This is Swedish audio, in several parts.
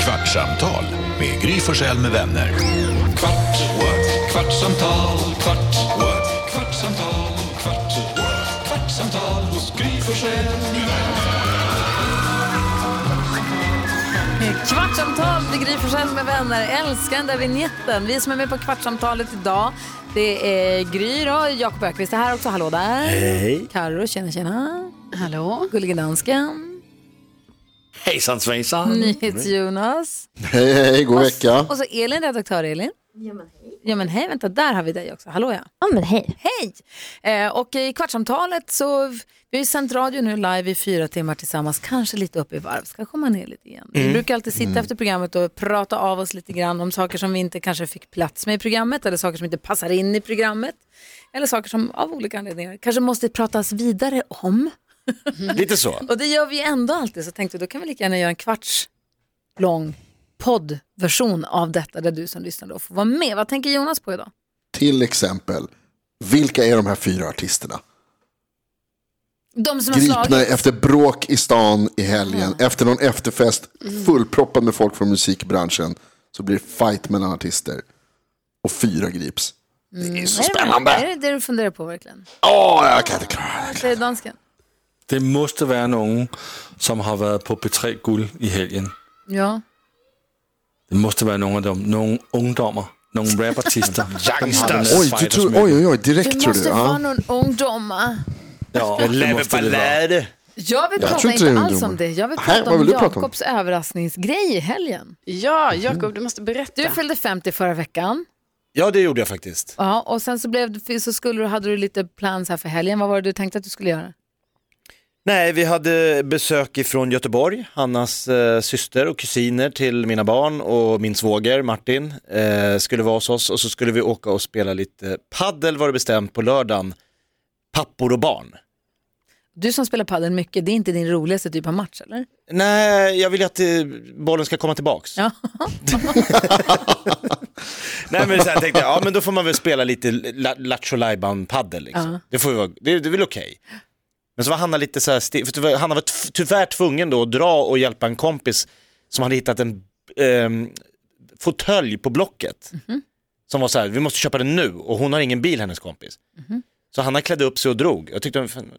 Kvartsamtal med Gry Forssell med vänner. Kvart, what? kvartsamtal, kvart, what? kvartsamtal, kvart, what? kvartsamtal hos Gry Forssell med vänner. Kvartsamtal med Gry Forssell med vänner. Älskar den där vignetten. Vi som är med på Kvartsamtalet idag, det är Gry då, Jakob Ökvist är här också. Hallå där. Hej. Carro, tjena tjena. Hallå. Gullige dansken. Hejsan svejsan! NyhetsJonas. Hej, hej, god Eh, vecka. Och så Elin, redaktör Elin. Ja men hej, vänta, där har vi dig också. Hallå ja. Ja men hej. Hej! Eh, och i Kvartsamtalet så, vi har ju sänt radio nu live i fyra timmar tillsammans, kanske lite upp i varv, ska komma ner lite igen. Mm. Vi brukar alltid sitta efter programmet och prata av oss lite grann om saker som vi inte kanske fick plats med i programmet eller saker som inte passar in i programmet. Eller saker som av olika anledningar kanske måste pratas vidare om. Lite så. Och det gör vi ändå alltid, så tänkte jag då kan vi lika gärna göra en kvarts lång poddversion av detta där du som lyssnar då får vara med. Vad tänker Jonas på idag? Till exempel, vilka är de här fyra artisterna? De som har Gripna slagit. efter bråk i stan i helgen, efter någon efterfest fullproppad med folk från musikbranschen, så blir det fight mellan artister. Och fyra grips. Det är så Mm. Är spännande. det det du funderar på verkligen? Åh, jag kan inte klara det. Det är dansken. Det måste være nogen, som har været på P3 Guld i helgen. Ja. Det måste være nogle af dem. Nogle ungdommer. Nogle rapartister. Youngsters. Oj, du tror, oj, oj, oj, direkt Det tror du. måste vara Ja. någon ungdomar. Ja, det måste det være. Leveballade! Jag vill Jag prata tror inte det inte är alls ungdomar. om det. Jag vill Nej, prata vad om vill du prata om? Jakobs överraskningsgrej i helgen. Ja, Jakob, du måste berätta. Du fyllde 50 förra veckan. Ja, det gjorde jag faktiskt. Ja, och sen så, blev, det- så skulle, du- hade du lite plans här för helgen. Vad var det du tänkte att du skulle göra? Nej, vi hade besök ifrån Göteborg, Hannas eh, syster och kusiner till mina barn och min svåger Martin eh, skulle vara hos oss och så skulle vi åka och spela lite paddel var det bestämt på lördagen, pappor och barn. Du som spelar padel mycket, det är inte din roligaste typ av match eller? Nej, jag vill ju att eh, bollen ska komma tillbaks. Ja. Nej men sen tänkte jag, ja men då får man väl spela lite la- lattjo lajban padel liksom. Ja. Det, får ju vara, det, det är väl okej. Men så var Hanna lite så här, sti- för tyvärr- Hanna var tv- tyvärr tvungen då att dra och hjälpa en kompis som hade hittat en ehm, fåtölj på Blocket. Mhm. Som var så här, vi måste köpa den nu och hon har ingen bil hennes kompis. Mhm. Så Hanna klädde upp sig och drog. Jag tyckte hon var fan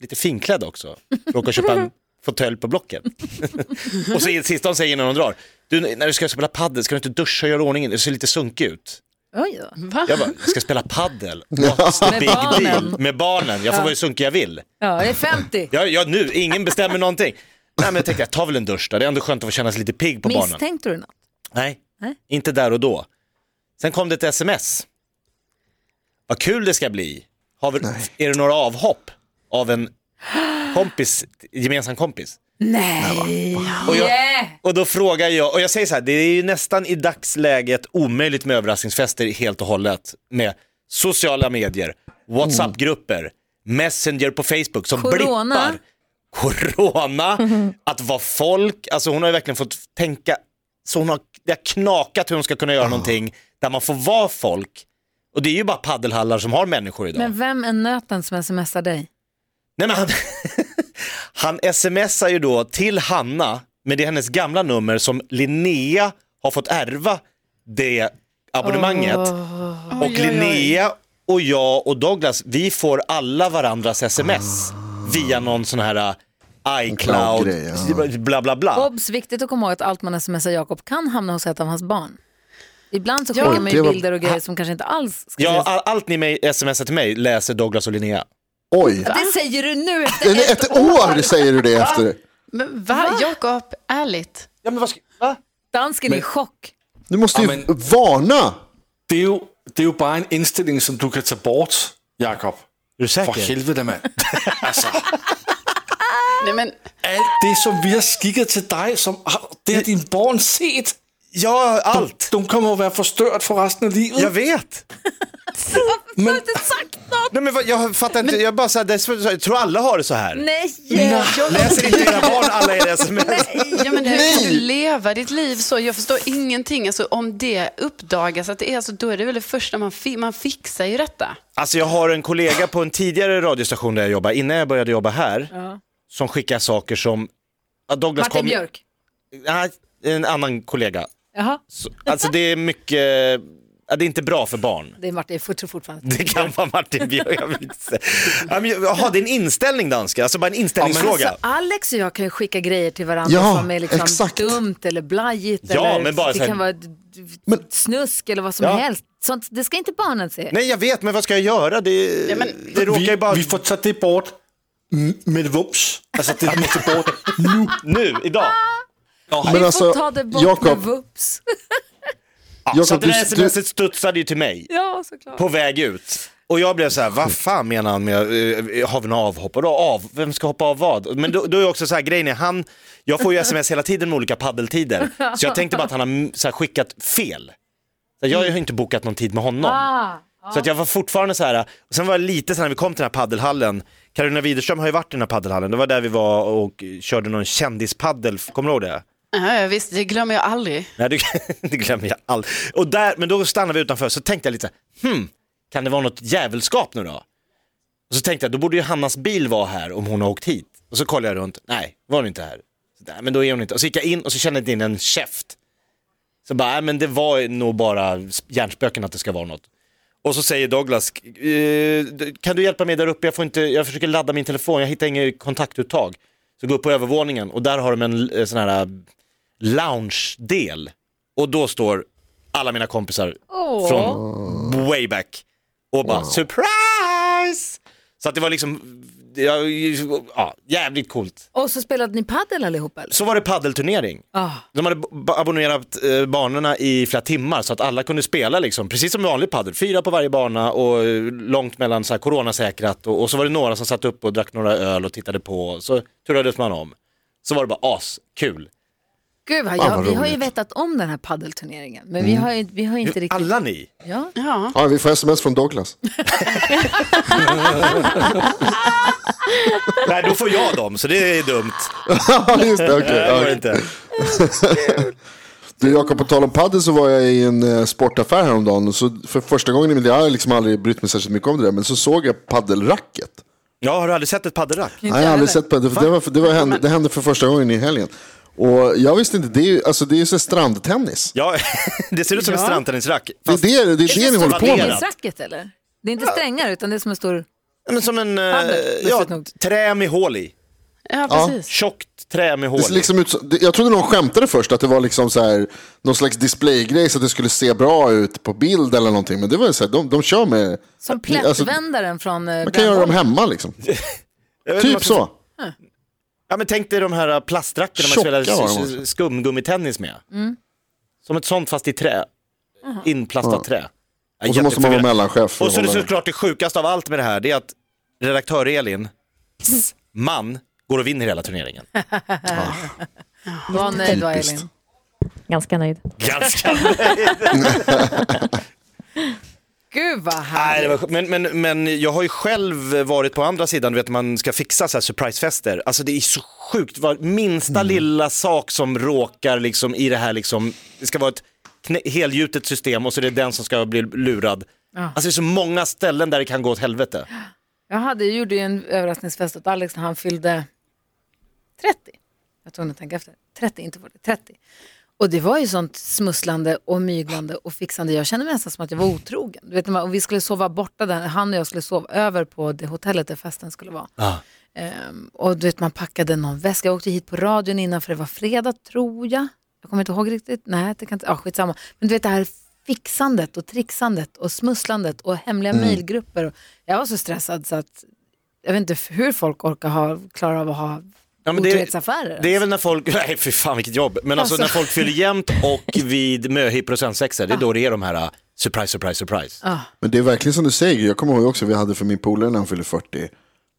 lite finklädd också. För att köpa en fåtölj på Blocket. och så i det sista hon säger när hon drar, du, när du ska spela padel ska du inte duscha och göra i ordning? Du ser lite sunkig ut. Oj då. Va? Jag bara, jag ska spela paddel. What's the Med big barnen. deal? Med barnen. Jag får vara hur sunkig jag vill. Ja, det är 50. Jag, jag, nu, ingen bestämmer någonting. Nej men jag tänkte, jag tar väl en dusch då. Det är ändå skönt att få känna sig lite pigg på barnen. Misstänkte du något? Nej, Nej. inte där och då. Sen kom det ett sms. Vad kul det ska bli. Har vi, är det några avhopp av en kompis, gemensam kompis? Nej. Och jag... Och då frågar jag, och jag säger så här, det är ju nästan i dagsläget omöjligt med överraskningsfester helt och hållet med sociala medier, WhatsApp-grupper, Messenger på Facebook som Corona. blippar. Corona, att vara folk, alltså hon har ju verkligen fått tänka, så hon har, det har knakat hur hon ska Ah. kunna göra någonting där man får vara folk. Och det är ju bara paddelhallar som har människor idag. Men vem är nöten som smsar dig? Nej, men han, han smsar ju då till Hanna, men det är hennes gamla nummer som Linnea har fått ärva det abonnemanget. Och Linnea och jag och Douglas, vi får alla varandras sms via någon sån här äh, iCloud, Cloud-grej, ja. bla bla bla. Obs, viktigt att komma ihåg att allt man smsar Jakob kan hamna hos ett av hans barn. Ibland så Ja. skickar man ju Det var- bilder och grejer som kanske inte alls ska Ja, läsas. all, allt ni mig- smsar till mig läser Douglas och Linnea. Oj, Det säger du nu efter Nej, ett år säger du det efter. Men va? Jakob, ärligt. Ja, men vad ska, va? dansken i chock. Du måste Ja, ju men- varna. Det, er jo, det er jo bare en indstilling, som du kan tage bort, Jakob. Är du For säker? helvede, mand. altså, Nej, men, alt det, som vi har skikket til dig, som har, det har din barn set. Ja, allt. Du kommer jo være forstørt for resten af livet. Jag vet. Du har inte sagt något! Nej, men vad- jag fattar inte, jag bara så här, det, jag tror alla har det så här. Nej! Läser inte dina barn alla era sms? ja, men hur kan du leva ditt liv så? Jag förstår ingenting. Alltså, om det uppdagas att det är så, då är det väl det första man, fi- man fixar ju detta. Alltså jag har en kollega på en tidigare radiostation där jag jobbade, innan jag började jobba här, som skickar saker som... Ja, Douglas Martin kom- Björk. Nej, en annan kollega. Jaha, Så, alltså det är mycket, ja, det är inte bra för barn. det är Martin, jag tror fortfarande. Det kan vara Martin Björk, jag vill inte säga. Ja, men, Jaha, det är en inställning danska, alltså bara en inställningsfråga. Alltså, Alex och jag kan ju skicka grejer till varandra Ja, som är liksom exakt. dumt eller blajigt. Ja, eller men bara det så här- kan vara d- d- Men- snusk eller vad som Ja. helst. Sånt, det ska inte barnen se. Nej jag vet, men vad ska jag göra? Det, Ja, men- det råkar ju Vi, bara... vi får ta det bort m- med vums. Alltså det måste bort. Nu, idag. Vi Men får alltså, ta det bort med Jakob, vups. Ja, Jakob, så att det där du- du- smset studsade ju till mig Ja, såklart. på väg ut. Och jag blev så här, vad fan menar han med, eh, har vi några avhopp? Och då av, vem ska hoppa av vad? Men då, då är också så här, grejen är, han, jag får ju sms hela tiden med olika paddeltider. Så jag tänkte bara att han har mm, så här, skickat fel. Så jag har ju inte bokat någon tid med honom. Ah, Så att jag var fortfarande så här, och sen var jag lite så här när vi kom till den här paddelhallen, Carolina Widerström har ju varit i den här paddelhallen, det var där vi var och körde någon kändispaddel, kommer du ihåg det? Ja, visst, det glömmer jag aldrig. Nej, det, det glömmer jag aldrig. Och där, men då stannade vi utanför, så tänkte jag lite, så här, hmm, kan det vara något jävelskap nu då? Och så tänkte jag, då borde ju Hannas bil vara här om hon har åkt hit. Och så kollade jag runt, nej, var hon inte här? Så, nej, men då är hon inte. Och så gick jag in och så kände jag inte in en käft. Så bara, nej men det var nog bara hjärnspöken att det ska vara något. Och så säger Douglas, eh, kan du hjälpa mig där uppe? Jag, får inte, jag försöker ladda min telefon, jag hittar inget kontaktuttag. Så går upp på övervåningen och där har de en eh, sån här lounge-del. Och då står alla mina kompisar Åh. från way back och bara surprise! Så att det var liksom, ja, ja, jävligt coolt. Och så spelade ni padel allihopa eller? Så var det paddelturnering. Ah. De hade b- abonnerat eh, banorna i flera timmar så att alla kunde spela liksom, precis som vanlig padel. Fyra på varje bana och eh, långt mellan så här, coronasäkrat och, och så var det några som satt upp och drack några öl och tittade på. Så turades man om. Så var det bara askul. Gud, vad Fan, jag, Ah, vad vi har ju roligt. Mm. vetat om den här paddelturneringen, men vi, har ju, vi har ju inte riktigt... Alla ni, Ja. Ja. Ja, vi får sms från Douglas. nej då får jag dem så det är dumt. Ja, just det. Nej, okej. det Ja, går inte. Du Jakob, på tal om padel så var jag i en eh, sportaffär häromdagen. Och så för första gången i mitt liv, jag har liksom aldrig brytt mig särskilt mycket om det där, men så såg jag paddelracket. Ja, har du aldrig sett ett paddelrack? Nej, jag har aldrig sett padel. för Det, var, det, var, hände, det hände för första gången i helgen. Och jag visste inte, det är ju alltså, det är ju så här strandtennis. Ja, det ser ut som en Ja. strandtennisrack. Det är Fast det, det, är det ni håller på med. vadderat. Tennisracket eller? Det är inte strängar utan det är som en stor... men som en eh, Paddel, ja, lustigt nog. trä med hål i. Ja, precis. Tjockt trä med hål Det ser i. liksom ut, som- det- jag trodde någon skämtade först att det var liksom så här, någon slags displaygrej så att det skulle se bra ut på bild eller någonting. Men det var ju så här, de, de kör med... Som alltså, plättvändaren från... eh, Man kan göra dem hemma liksom. Jag vet inte vad Typ man ska- så. Ja, men tänk dig de här plastrackorna man Tjocka spelar var de s- också. s- skumgummitennis med. Som ett sånt fast i trä. Inplastat trä. Ja, Och så måste man vara jätteförvirrande. mellanchef. för Och så att det hålla- såklart det sjukaste av allt med det här, det är att redaktör Elin, man, går och vinner hela turneringen. Var nöjd var Typiskt. Elin. Ganska nöjd. Ganska. Gud vad Nej, det härligt. var, sj- men, men, men jag har ju själv varit på andra sidan, du vet man ska fixa så här surprisefester. Alltså det är så sjukt, vad- minsta Mm. lilla sak som råkar liksom i det här liksom, det ska vara ett knä- helgjutet system och så är det den som ska bli lurad. Alltså det är så många ställen där det kan gå åt helvete. Jag hade, jag gjorde ju en överraskningsfest åt Alex när han fyllde 30. Jag tog att tänka efter. 30, inte 40, 30. Och det var ju sånt smusslande och myglande och fixande. Jag kände mig nästan som att jag var otrogen. Du vet, när man- och vi skulle sova borta där, han och jag skulle sova över på det hotellet där festen skulle vara. Ehm, och du vet, man packade någon väska. Jag åkte hit på radion innan för det var fredag, tror jag. Jag kommer inte ihåg riktigt. Nej, det kan inte... Ah, skitsamma. Men du vet det här fixandet och trixandet och smusslandet och hemliga Mm. mejlgrupper. Och- Jag var så stressad så att jag vet inte f- hur folk orkar ha, klarar av att ha Ja, men det- otrohetsaffärer. Det är väl när folk, nej fy fan vilket jobb, men alltså, Alltså. när folk fyller jämnt och vid möhippor och sensexer, det är då det är de här uh, surprise, surprise, surprise. Men det är verkligen som du säger, jag kommer ihåg också, vi hade för min polare när han fyllde 40.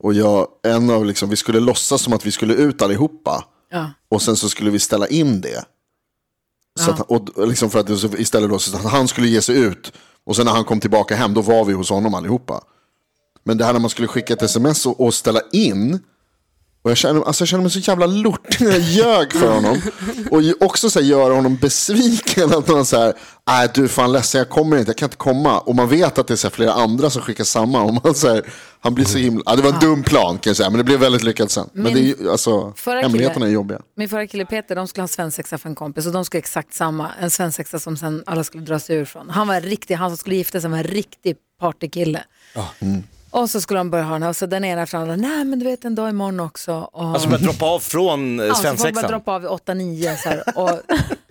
Och jag, en av liksom, vi skulle låtsas som att vi skulle ut allihopa. Ja. Och sen så skulle vi ställa in det. Så att, och liksom för att det- så istället då, så att han skulle ge sig ut. Och sen när han kom tillbaka hem, då var vi hos honom allihopa. Men det här när man skulle skicka ett sms och, och ställa in. Och jag, känner, alltså jag känner mig så jävla lort när jag ljög för honom. Och ju också så här, göra honom besviken. Att man så här, nej du är fan ledsen jag kommer inte, jag kan inte komma. Och man vet att det är så här, flera andra som skickar samma. Och man, så här, han blir så himla, ja, det var en dum plan kan jag säga, men det blev väldigt lyckat sen. Men det är ju, alltså, förra hemligheterna killen- är jobbiga. Min förra kille Peter, de skulle ha en svensexa för en kompis och de skulle ha exakt samma, en svensexa som sen alla skulle dra sig ur från. Han var en riktig, han som skulle gifta sig var en riktig partykille. Och så skulle de börja ha den här och så den ena efter den andra, nej men du vet en dag imorgon också. Och... Alltså börjat droppa av från eh, Ja, så får man bara svensexan. droppa av vid 8-9 så här. Och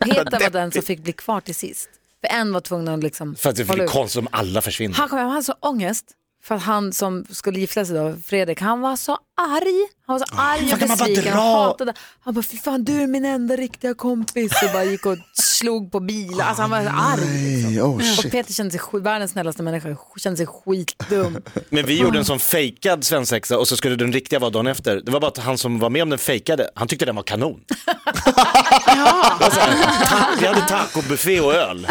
Peter var den som fick bli kvar till sist. För en var tvungen att liksom För att det hålla blir ut. konstigt om alla försvinner. Han kom hem, han hade så ångest. För att han som skulle gifta sig då, Fredrik, han var så arg. Han var så arg och kan man bara besviken. Han dra? hatade. Han bara, fy fan du är min enda riktiga kompis. Och bara gick och slog på bilar. Alltså han var så arg. Nej, oh Och shit. Peter kände sig, sk- världens snällaste människa, kände sig skitdum. Men vi gjorde en sån fejkad svensexa och så skulle den riktiga vara dagen efter. Det var bara att han som var med om den fejkade, han tyckte den var kanon. Det var så här, ta- Vi hade tacobuffé och öl.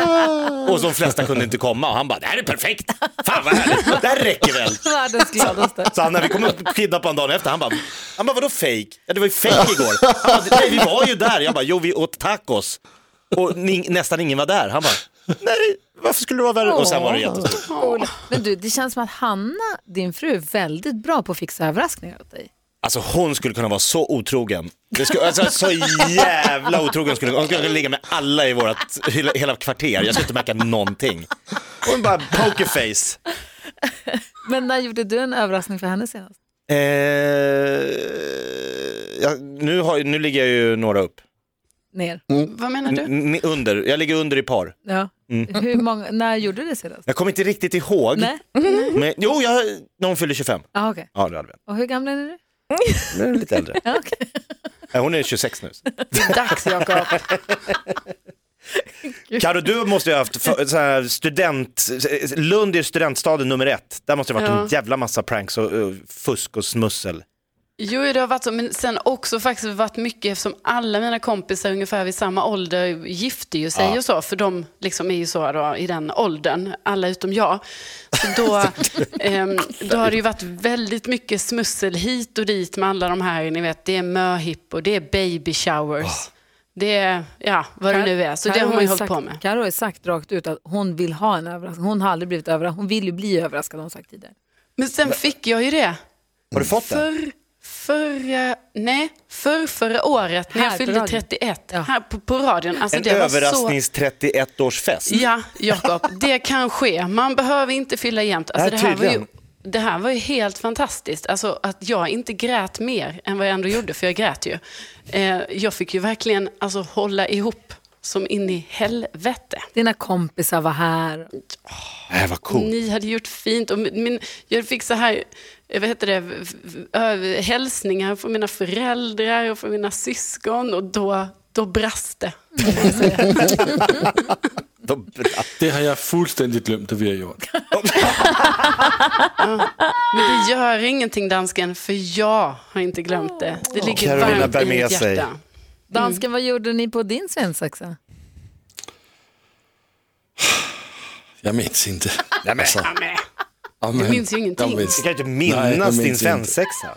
Och de flesta kunde inte komma och han bara, det här är perfekt. Fan vad härligt, det här räcker väl. Världens gladaste. Så han, när vi kom upp kidnappade dagen efter, han bara, han bara vadå fake? Ja det var ju fake igår. Han bara, Nej vi var ju där. Jag bara, jo vi åt tacos. Och ni, nästan ingen var där. Han bara, nej varför skulle det vara värre? Och sen var det jättestort. Ola. Men du, det känns som att Hanna, din fru, är väldigt bra på att fixa överraskningar åt dig. Alltså hon skulle kunna vara så otrogen. Det skulle, alltså, så jävla otrogen skulle hon skulle kunna ligga med alla i vårt hela, hela kvarter. Jag skulle inte märka någonting. Hon bara pokerface. Men när gjorde du en överraskning för henne senast? Eh, ja, nu, har, nu ligger jag ju några upp. Ner? Vad menar du? N- under. Jag ligger under i par. Ja. Hur många, när gjorde du det senast? Jag kommer inte riktigt ihåg. Nej? Men, jo, jag, när hon fyller 25. Ah, okej. Ja, det hade vi. Och hur gamla är du? Nu är lite äldre. Ja, okej. Nej, Hon är 26 nu. Dags Jakob. Karo, du måste ju ha haft för- så här student, Lund är ju studentstaden nummer ett. Där måste det ha varit Ja. en jävla massa pranks och, eh, fusk och smussel. Jo, det har varit så, men sen också faktiskt varit mycket eftersom alla mina kompisar ungefär vid samma ålder gifte ju sig och så, för de liksom är ju så då, i den åldern, alla utom jag. Så då, ehm, då har det ju varit väldigt mycket smussel hit och dit med alla de här, ni vet, det är möhippor, det är baby showers, det är, ja, vad det nu är. Så det Karo har man ju hållit sagt, på med. Karo har ju sagt rakt ut att hon vill ha en överraskning. Hon har aldrig blivit överraskad. Hon vill ju bli överraskad har hon sagt tidigare. Men sen fick jag ju det. Har du fått den? För, förra, nej, för förra året när Här jag på fyllde radion. 31, Ja. här på, på radion. Alltså, En det var så... överrasknings-31-årsfest. Ja, Jakob, det kan ske. Man behöver inte fylla jämnt. Alltså, Nej, det, här var ju, tydligen. det här var ju helt fantastiskt. Alltså, att jag inte grät mer än vad jag ändå gjorde, för jag grät ju. Eh, jag fick ju verkligen alltså, hålla ihop som in i helvete. Dina kompisar var här. Nej, vad coolt. Ni hade gjort fint. Och min- min, jag fick så här, eh, vad heter det, v- v- ö- hälsningar från mina föräldrar och från mina syskon och då, då brast det. De- Det har jag fuldstændigt glömt, att vi har gjort. Men det gör ingenting dansken, för jag har inte glömt det. Det ligger Carolina varmt bär i med mitt sig. hjärta. Dansken, Mm. vad gjorde ni på din svensexa? Jag minns inte. Nej, men, Ja, men, Oh, Du minns ju ingenting. du kan ju inte Nej, jag minnas minns din inte. svensexa.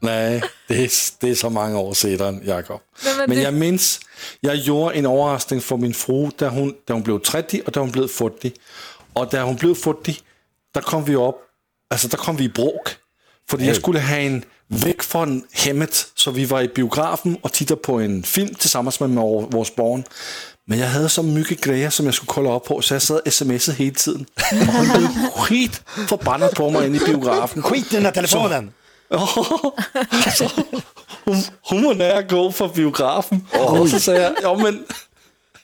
Nej, det är, det är så många år sedan, Jakob. men Men, det- jag minns, jag gjorde en överraskning för min fru där hon, där hon blev 30 och där hon blev 40. Och där hon blev 40, där kom vi upp, alltså där kom vi i bråk. För jag skulle ha en väck från hemmet, så vi var i biografen och tittade på en film tillsammans med våra barn. Men jag hade så mycket grejer som jag skulle kolla upp på, så jag satt och smsade hela tiden. Och hon blev skitförbannad på mig inne i biografen. Skit i den här telefonen. hun, hun var nær at gå fra biografen. Og så sagde jeg, jo, men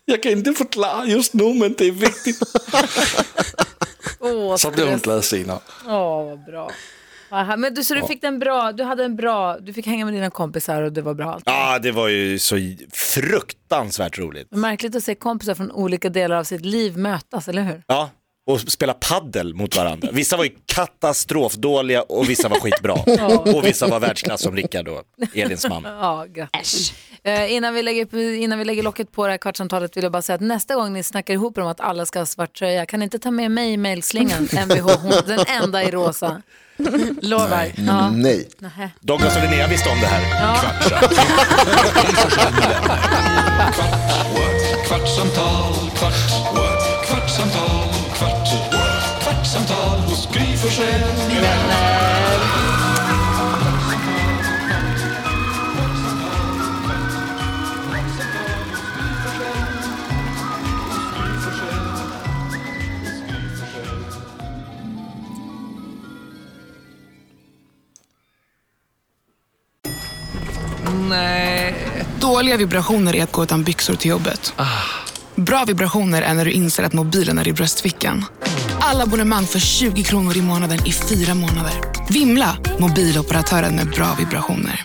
jeg kan ikke forklare just nu, men det er vigtigt. Åh, Så blev hun glad senere. Åh, vad bra. Vad här- Men du, så du fick den bra, du hade en bra, du fick hänga med dina kompisar och det var bra allt. Ja, det var ju så fruktansvärt roligt. Märkligt att se kompisar från olika delar av sitt liv mötas, eller hur? Ja, och spela paddel mot varandra. Vissa var ju katastrofdåliga och vissa var skitbra. Och vissa var världsklass som Rickard och Elins man. Ja, grattis. Eh, innan, vi lägger, innan vi lägger locket på det här kvartsamtalet vill jag bara säga att nästa gång ni snackar ihop er om att alla ska ha svart tröja, kan ni inte ta med mig i mejlslingan? Mvh, hon, den enda i rosa. Lovar. Ja. Nej. Nähä. Douglas och Linnea visste om det här. What? Kvartsamtal, kvart, what? kvartsamtal, kvart, what? kvartsamtal hos Gry Forssell med vänner. Dåliga vibrationer är att gå utan byxor till jobbet. Bra vibrationer är när du inser att mobilen är i bröstfickan. Alla abonnemang för 20 kronor i månaden i fyra månader. Vimla! Mobiloperatören med bra vibrationer.